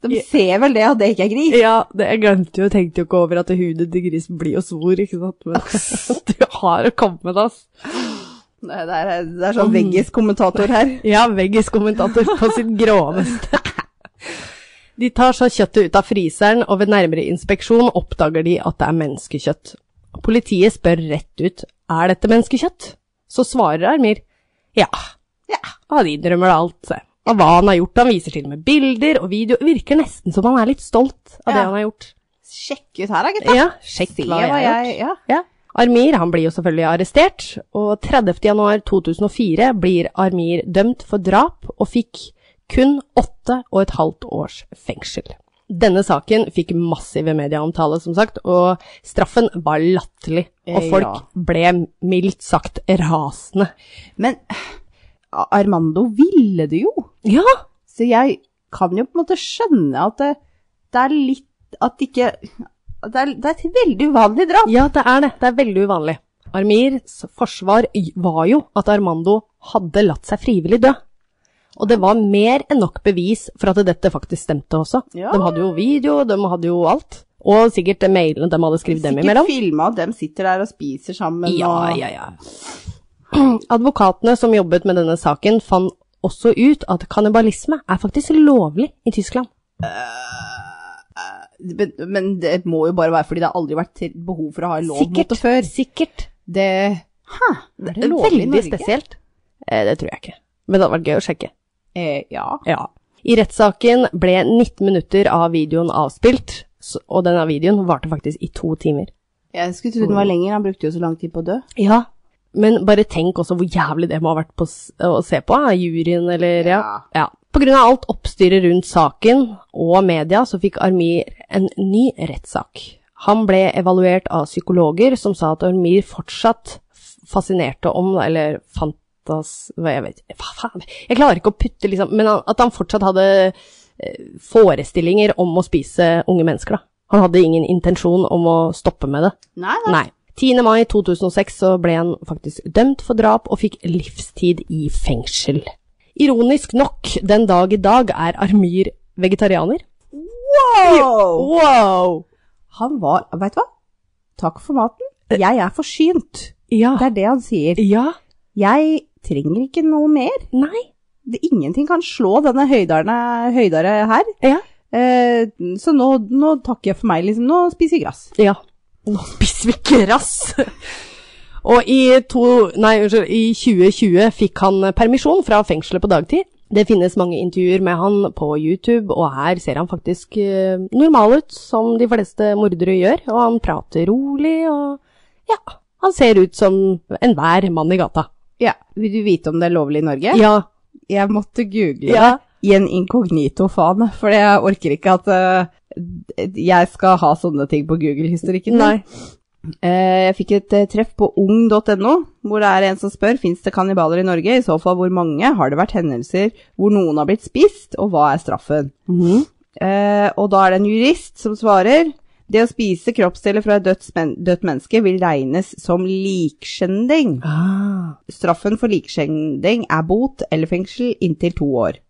S2: De ser vel det at det ikke er gris?
S1: Ja, det, jeg glemte jo, tenkte jo ikke over at huden til grisen blir jo svor, ikke sant? Men du har å komme med det, ass.
S2: Nei, Det er, det er sånn veggis-kommentator her.
S1: Ja, veggis-kommentator på sitt groveste. De tar så kjøttet ut av fryseren, og ved nærmere inspeksjon oppdager de at det er menneskekjøtt. Politiet spør rett ut, er dette menneskekjøtt? Så svarer Armir, ja.
S2: Ja.
S1: Han innrømmer da alt, se. Og hva han har gjort, han viser til og med bilder og video, virker nesten som han er litt stolt av det
S2: Ja.
S1: han har gjort.
S2: Sjekk ut her da, gutta.
S1: Ja, sjekk
S2: Se
S1: hva jeg har gjort.
S2: Ja.
S1: Ja. Armir han blir jo selvfølgelig arrestert, og 30.1.2004 blir Armir dømt for drap og fikk kun åtte og et halvt års fengsel. Denne saken fikk massive medieomtale, som sagt, og straffen var latterlig. Og
S2: Eh,
S1: folk
S2: ja.
S1: ble mildt sagt rasende.
S2: Men eh, Armando ville det jo.
S1: Ja!
S2: Så jeg kan jo på en måte skjønne at det, det er litt At ikke at det er, det er et veldig uvanlig drap.
S1: Ja, det er det. Det er veldig uvanlig. Armirs forsvar var jo at Armando hadde latt seg frivillig dø. Og det var mer enn nok bevis for at dette faktisk stemte også.
S2: Ja.
S1: De hadde jo video, de hadde jo alt. Og sikkert mailene de hadde skrevet dem
S2: Sikkert
S1: imellom.
S2: filma at dem sitter der og spiser sammen
S1: Ja,
S2: og
S1: ja, ja. Advokatene som jobbet med denne saken fant også ut at kannibalisme er faktisk lovlig i Tyskland.
S2: Men, men det må jo bare være fordi det har aldri vært til- behov for å ha en lov mot
S1: Sikkert.
S2: det før.
S1: Sikkert.
S2: Det Hæ? Er det lovlig
S1: Veldig
S2: i Norge?
S1: spesielt. Eh, Det tror jeg ikke. Men det hadde vært gøy å sjekke.
S2: Eh, ja.
S1: Ja. I rettssaken ble 19 minutter av videoen avspilt, s- og denne videoen varte faktisk i to timer.
S2: Jeg skulle tro den var lenger, han brukte jo så lang tid på å dø.
S1: Ja. Men bare tenk også hvor jævlig det må ha vært på, s- å se på, ja, juryen eller ja.
S2: Ja.
S1: ja. På grunn av alt oppstyret rundt saken og media, så fikk Armir en ny rettssak. Han ble evaluert av psykologer som sa at Armir fortsatt f- fascinerte om, eller fantas... Hva jeg vet Hva faen? Jeg klarer ikke å putte liksom Men han, at han fortsatt hadde eh, forestillinger om å spise unge mennesker, da. Han hadde ingen intensjon om å stoppe med det.
S2: Nei, nei.
S1: Nei. 10. mai 2006 så ble han faktisk dømt for drap og fikk livstid i fengsel. Ironisk nok, den dag i dag er Armir vegetarianer.
S2: Wow!
S1: Wow!
S2: Han var Veit du hva? Takk for maten. Jeg er forsynt.
S1: Ja.
S2: Det er det han sier.
S1: Ja.
S2: Jeg trenger ikke noe mer.
S1: Nei.
S2: Det, ingenting kan slå denne høydaren høydare her.
S1: Ja.
S2: Eh, så nå, nå takker jeg for meg, liksom. Nå spiser jeg gress.
S1: Ja. Nå spiser vi grass! Og i, to, nei, unnskyld, i 2020 fikk han permisjon fra fengselet på dagtid, Det finnes mange intervjuer med han på YouTube, og her ser han faktisk eh, normal ut, som de fleste mordere gjør. Og han prater rolig, og ja, han ser ut som enhver mann i gata.
S2: Ja. Vil du vite om det er lovlig i Norge?
S1: Ja,
S2: Jeg måtte google
S1: ja,
S2: i en inkognito-fane, for jeg orker ikke at eh, jeg skal ha sånne ting på Google-historikken. min.
S1: nei.
S2: Eh, jeg fikk et eh, treff på ung.no, hvor det er en som spør «Finnes det kannibaler i Norge, i så fall hvor mange, har det vært hendelser hvor noen har blitt spist, og hva er straffen?» Eh, og da er det en jurist som svarer «Det å spise kroppsdeler fra et dødt, men dødt menneske vil regnes som likskjending.
S1: Ah,
S2: Straffen for likskjending er bot eller fengsel inntil to år.»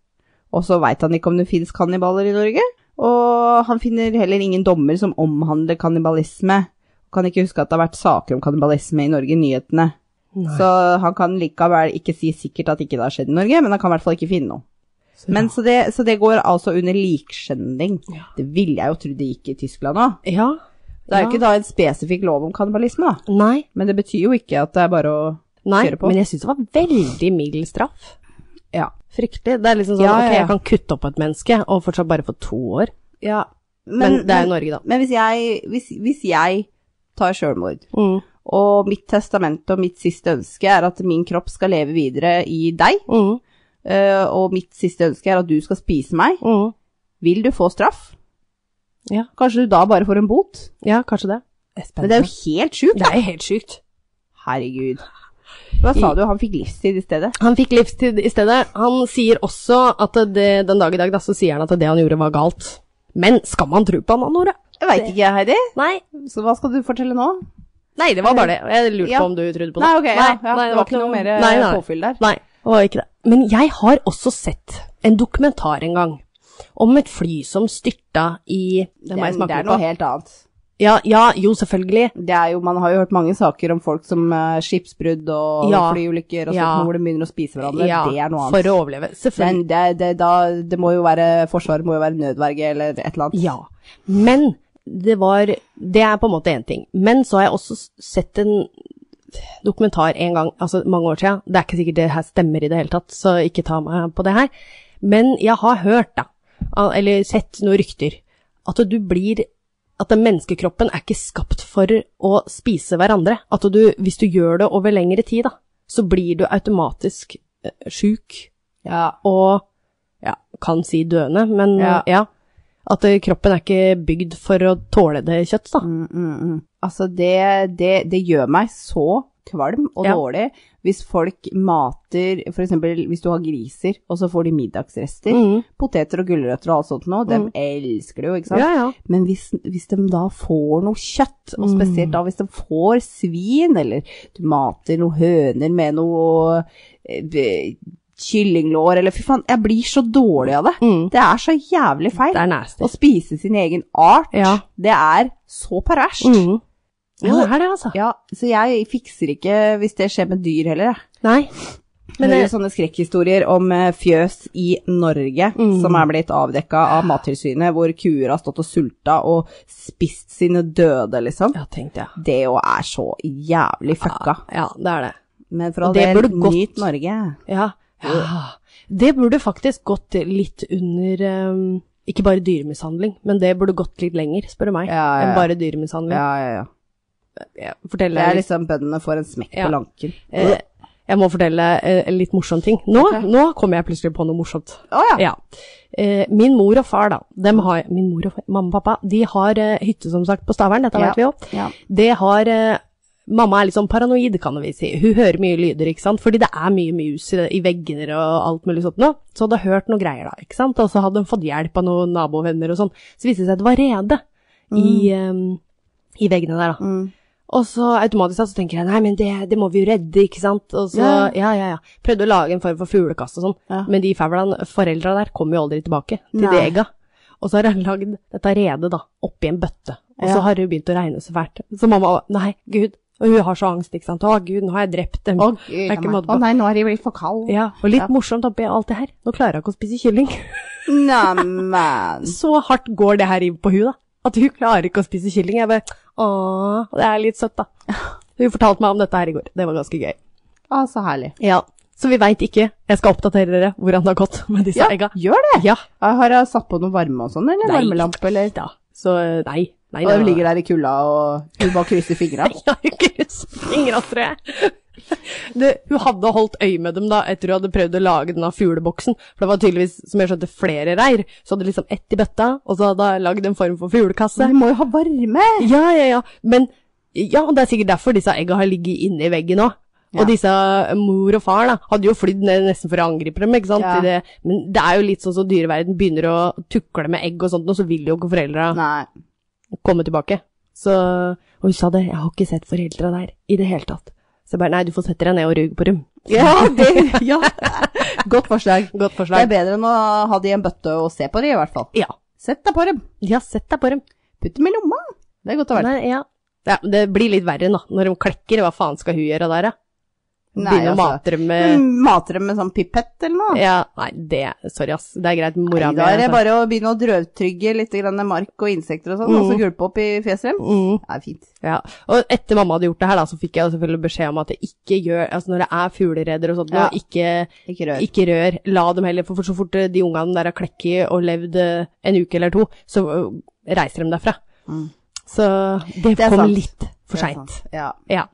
S2: Og så vet han ikke om det finnes kannibaler i Norge, og han finner heller ingen dommer som omhandler kannibalisme. Kan ikke huske at det har vært saker om kannibalisme i Norge i nyhetene.
S1: nei.
S2: Så han kan likevel ikke si sikkert at ikke det har skjedd i Norge, men han kan i hvert fall ikke finne noe.
S1: Så
S2: Men så det, så det går altså under likskjending.
S1: Ja.
S2: Det ville jeg jo tro det gikk i Tyskland òg.
S1: bra. Ja.
S2: Det er
S1: ja.
S2: jo ikke da en spesifikk lov om kannibalisme, da.
S1: Nei,
S2: Men det betyr jo ikke at det er bare å
S1: nei
S2: Kjøre på.
S1: men jeg syns det var veldig mild straff.
S2: Ja.
S1: Fryktelig. Det er liksom sånn
S2: Ja, ja,
S1: ok,
S2: ja.
S1: jeg kan kutte opp et menneske, og fortsatt bare få to år.
S2: ja.
S1: Men, det er jo
S2: men,
S1: Norge, da.
S2: men hvis, jeg, hvis, hvis jeg tar sjølmord,
S1: Mm.
S2: og mitt testament og mitt siste ønske er at min kropp skal leve videre i deg,
S1: Mm.
S2: eh, og mitt siste ønske er at du skal spise meg,
S1: Mm.
S2: vil du få straff?
S1: Ja.
S2: Kanskje du da bare får en bot?
S1: Ja, kanskje det.
S2: Men det er jo helt sjukt.
S1: altså. Det er jo helt sjukt.
S2: Herregud. Hva sa du? Han fikk livstid i stedet?
S1: Han fikk livstid i stedet. Han sier også at det, den dag i dag da, så sier han at det han gjorde var galt. Men skal man tro på han, Anne Nore?
S2: Jeg veit ikke, Heidi.
S1: Nei.
S2: Så hva skal du fortelle nå?
S1: nei, det var bare det. Jeg lurte
S2: Ja.
S1: på om du trodde på det.
S2: Nei, ok. ja, ja, det var ikke noe mer eh,
S1: nei, nei.
S2: påfyll der.
S1: Nei, det var ikke det. Men jeg har også sett en dokumentar en gang om et fly som styrta i Det må jeg
S2: det
S1: smake
S2: er
S1: på.
S2: noe helt annet.
S1: Ja, ja, jo, selvfølgelig.
S2: Det er jo, man har jo hørt mange saker om folk som eh, skipsbrudd og
S1: Ja.
S2: flyulykker og sånt,
S1: Ja.
S2: hvor de begynner å spise hverandre.
S1: Ja,
S2: det er noe annet.
S1: for å overleve. Selvfølgelig.
S2: Men det, det, da, det må jo være Forsvaret må jo være nødverge eller et eller annet.
S1: Ja, men det var Det er på en måte én ting. Men så har jeg også s- sett en dokumentar en gang, altså mange år siden. Det er ikke sikkert det her stemmer i det hele tatt, så ikke ta meg på det her. Men jeg har hørt, da, al- eller sett noen rykter, at du blir at den menneskekroppen er ikke skapt for å spise hverandre. At du, hvis du gjør det over lengre tid, da, så blir du automatisk eh, sjuk
S2: Ja.
S1: og ja, kan si døende, men ja.
S2: Ja.
S1: At eh, kroppen er ikke bygd for å tåle det kjøtt, da.
S2: Mm, mm, mm. Altså, det, det, det gjør meg så kvalm og
S1: Ja.
S2: dårlig hvis folk mater For eksempel hvis du har griser, og så får de middagsrester.
S1: Mm.
S2: Poteter og gulrøtter og alt sånt nå, de
S1: Mm.
S2: elsker det jo, ikke sant?
S1: Ja, ja.
S2: Men hvis, hvis de da får noe kjøtt, og spesielt da hvis de får svin, eller du mater noen høner med noe eh, b- kyllinglår, eller fy faen, jeg blir så dårlig av det.
S1: Mm.
S2: Det er så jævlig feil.
S1: Det er
S2: Å
S1: nasty.
S2: spise sin egen art,
S1: Ja.
S2: det er så perverst.
S1: Mm. Ja, det er det, altså.
S2: Ja, så jeg fikser ikke hvis det skjer med dyr heller. jeg.
S1: Nei. Men eh,
S2: Hører
S1: det,
S2: jo sånne skrekkhistorier om eh, fjøs i Norge
S1: Mm.
S2: som er blitt avdekka av Mattilsynet, hvor kuer har stått og sulta og spist sine døde, liksom.
S1: ja, tenkte jeg.
S2: Det jo er så jævlig fucka.
S1: Ja, det er det.
S2: Men for all
S1: Det
S2: del,
S1: burde gått-
S2: nyt Norge.
S1: Ja. ja. Det burde faktisk gått litt under eh, Ikke bare dyremishandling, men det burde gått litt lenger, spør du meg,
S2: Ja, ja, ja.
S1: enn bare dyremishandling.
S2: Ja, ja, ja.
S1: Ja. Fortell
S2: Det
S1: deg
S2: er
S1: litt
S2: liksom bøndene får en smekk
S1: Ja.
S2: på lanken. Å
S1: Eh, jeg må fortelle eh, en litt morsom ting. Nå, nå kommer jeg plutselig på noe morsomt.
S2: ja.
S1: Ja. Eh, min mor og far, da. Dem har, min mor og far, mamma og pappa de har eh, hytte, som sagt, på Stavern. Dette
S2: Ja.
S1: vet vi jo.
S2: Ja.
S1: Det har eh, Mamma er litt sånn paranoid, kan vi si. Hun hører mye lyder, ikke sant. Fordi det er mye mus i, i vegger og alt mulig sånt nå. Så hadde hun hørt noe greier da, ikke sant. Og så hadde hun fått hjelp av noen nabovenner og sånn. Så viste det seg at det var rede i, eh, i veggene der, da.
S2: Mm.
S1: Og så automatisk da, så tenker jeg nei, men det, det må vi jo redde, ikke sant. Og så,
S2: Ja.
S1: ja, ja, ja. Prøvde å lage en form for fuglekasse og sånn.
S2: Ja.
S1: Men de fævlene, foreldra der, kom jo aldri tilbake til
S2: Nei.
S1: det egga. Og så har han lagd dette redet da, oppi en bøtte. Og så
S2: Ja.
S1: har det jo begynt å regne så fælt. Så mamma var nei, gud. Og hun har så angst, ikke sant. Å gud, nå har jeg drept dem.
S2: Å,
S1: Det
S2: gud,
S1: er ikke
S2: nei.
S1: måte på.
S2: Å nei, nå er de blitt for kalde.
S1: Ja, og litt
S2: Ja.
S1: morsomt oppi alt det her. Nå klarer hun ikke å spise kylling.
S2: Neimen.
S1: Så hardt går det her inn på hun da. At hun klarer ikke å spise kylling. Jeg bare, åh, det er litt søtt da. Hun fortalte meg om dette her i går. Det var ganske gøy.
S2: Å, så herlig.
S1: Ja, Så vi veit ikke. Jeg skal oppdatere dere hvordan det har gått med disse
S2: Ja,
S1: egga.
S2: gjør det!
S1: Ja.
S2: Jeg har jeg satt på noe varme og sånn, eller
S1: Nei.
S2: varmelampe, eller?
S1: Da. Så nei. nei,
S2: Og de ligger der i kulda og hun bare krysser fingra.
S1: Jeg har jo krysset fingra, tror jeg. Det, hun hadde holdt øye med dem da, etter hun hadde prøvd å lage den av fugleboksen. For det var tydeligvis, som jeg skjønte, flere reir. Så hadde liksom ett i bøtta, og så hadde hun lagd en form for fuglekasse.
S2: De må jo ha varme!
S1: Ja, ja, ja. Men ja, det er sikkert derfor disse egga har ligget inni veggen òg.
S2: Ja.
S1: Og disse eh, mor og far da, hadde jo flydd ned nesten for å angripe dem. ikke sant?
S2: Ja.
S1: I Det, men det er jo litt sånn som dyreverden begynner å tukle med egg og sånt, og så vil jo ikke foreldra
S2: Nei.
S1: komme tilbake. Så, og hun sa det, jeg har ikke sett foreldra der i det hele tatt. Så jeg bare, nei, du får sette deg ned og ruge på dem.
S2: Ja, det, ja. Godt forslag.
S1: Godt
S2: Det er
S1: forslag.
S2: bedre enn å ha de i en bøtte og se på de, i hvert fall.
S1: Ja,
S2: Sett deg på dem.
S1: de har sett deg på dem.
S2: Putt dem i lomma. Det er godt å være.
S1: Nei, ja. Ja, det blir litt verre nå, når de klekker, hva faen skal hun gjøre der da?
S2: Nei,
S1: Begynne å
S2: altså.
S1: mate dem med...
S2: Mm, Mater dem med sånn pipett eller noe.
S1: Ja, nei, det, sorry ass, det er greit, mora
S2: Nei,
S1: mi
S2: da er sånn. det
S1: altså.
S2: bare å begynne å drøvtrygge litt grann mark og insekter og sånn, og så gulpe opp i fjeset dem.
S1: Mm,
S2: Det er fint.
S1: ja. Og etter mamma hadde gjort det her, da, så fikk jeg jo selvfølgelig beskjed om at jeg ikke gjør Altså når det er fugleredder og sånt, nå,
S2: Ja.
S1: ikke,
S2: Ikke rør.
S1: ikke rør. La dem heller For så fort eh, de ungene der har klekket og levd eh, en uke eller to, så eh, reiser de derfra.
S2: Mm.
S1: Så det,
S2: Det er
S1: kom
S2: sant.
S1: litt for
S2: Det er
S1: seint.
S2: sant. Ja.
S1: Ja.
S2: ja.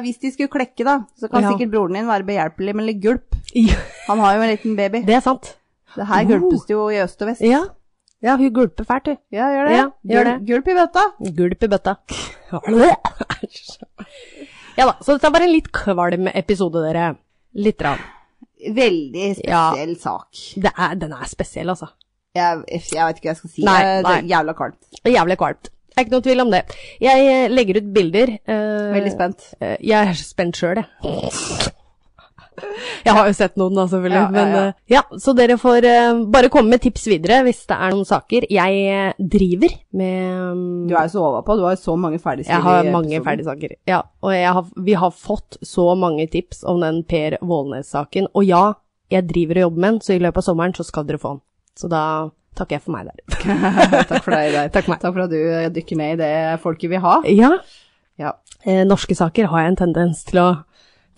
S2: Hvis de skulle klekke, da, så kan
S1: Ja.
S2: sikkert broren din være behjelpelig med litt gulp.
S1: Det
S2: Han har jo en liten baby.
S1: er sant.
S2: Det her
S1: Oh.
S2: gulpes det jo i øst og vest.
S1: Ja. Ja, hun gulper fælt, hun.
S2: Ja, gjør det.
S1: Ja, gjør
S2: Gul- Gulp i bøtta.
S1: Gulp i bøtta. Æsj. Ja da, så dette var en litt kvalm episode, dere. Litt rann.
S2: Veldig spesiell sak.
S1: Det er, den er spesiell, altså.
S2: Jeg, jeg vet ikke hva jeg skal si.
S1: Nei,
S2: Det er-
S1: nei.
S2: Det er jævla kaldt.
S1: Det er Jævlig kvalmt. Det er ikke noe tvil om det. Jeg eh, legger ut bilder. eh,
S2: Veldig spent.
S1: eh, Jeg er så spent sjøl, jeg. Jeg har jo sett noen, da, selvfølgelig.
S2: Ja, ja,
S1: Men
S2: ja.
S1: eh, ja, så dere får eh, bare komme med tips videre hvis det er noen saker. Jeg eh, driver med mm,
S2: Du er jo så overpå. Du har jo så mange ferdigskrivne
S1: jeg har
S2: i
S1: mange
S2: episoden.
S1: ferdigsaker. Ja, og jeg har, vi har fått så mange tips om den Per Vålnes-saken. Og ja, jeg driver og jobber med den, så i løpet av sommeren så skal dere få den. Så da takker jeg for meg der.
S2: Takk for deg, der.
S1: Takk for meg.
S2: Takk for at du eh, dykker ned i det folket vil ha.
S1: Ja,
S2: Ja.
S1: eh, norske saker har jeg en tendens til å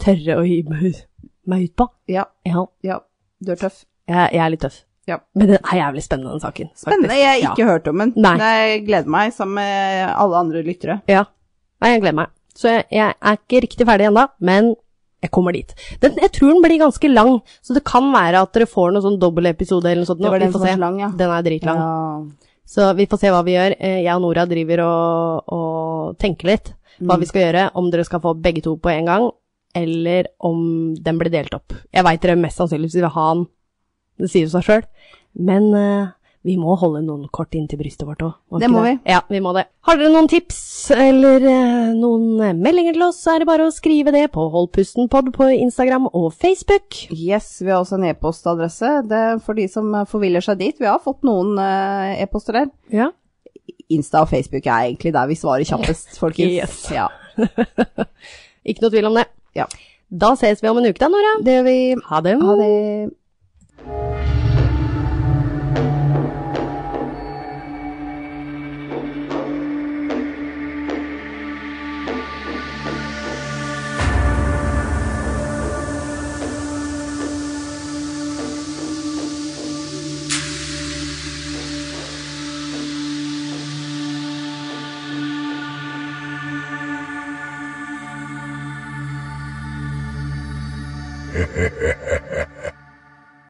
S1: tørre å hive meg, ut- meg ut på.
S2: Ja,
S1: Ja,
S2: ja. Du er tøff.
S1: jeg, jeg er litt tøff.
S2: Ja.
S1: Men det er jævlig spennende, den saken. faktisk.
S2: Spennende. Jeg har
S1: Ja.
S2: ikke hørt om den.
S1: Nei.
S2: Men jeg gleder meg, sammen med alle andre lyttere.
S1: Ja. Nei, jeg gleder meg. Så jeg, jeg er ikke riktig ferdig ennå, men jeg kommer dit. Den, jeg tror den blir ganske lang, så det kan være at dere får noen sånn dobbeltepisode eller noe sånt. nå.
S2: Det var
S1: Vi
S2: den
S1: får
S2: som var
S1: se.
S2: så lang, ja.
S1: Den er dritlang. Så vi får se hva vi gjør. Eh, Jeg og Nora driver og, og tenker litt hva
S2: Mm.
S1: vi skal gjøre, om dere skal få begge to på en gang, eller om den blir delt opp. Jeg veit dere mest sannsynligvis vil ha den, det sier jo seg sjøl, men eh, vi må holde noen kort inntil brystet vårt òg.
S2: Det må
S1: Ja, vi må det. Har dere noen tips eller eh, noen meldinger til oss, så er det bare å skrive det på Holdpustenpod på Instagram og Facebook.
S2: Yes, vi har også en e-postadresse. Det er for de som eh, forviller seg dit. Vi har fått noen eh, e-poster der.
S1: Ja.
S2: Insta og Facebook er egentlig der vi svarer kjappest, folkens.
S1: Yes.
S2: Ja.
S1: Ikke noe tvil om det.
S2: ja.
S1: Da ses vi om en uke da, Nora.
S2: Det gjør vi.
S1: Ha det.
S2: Ha det.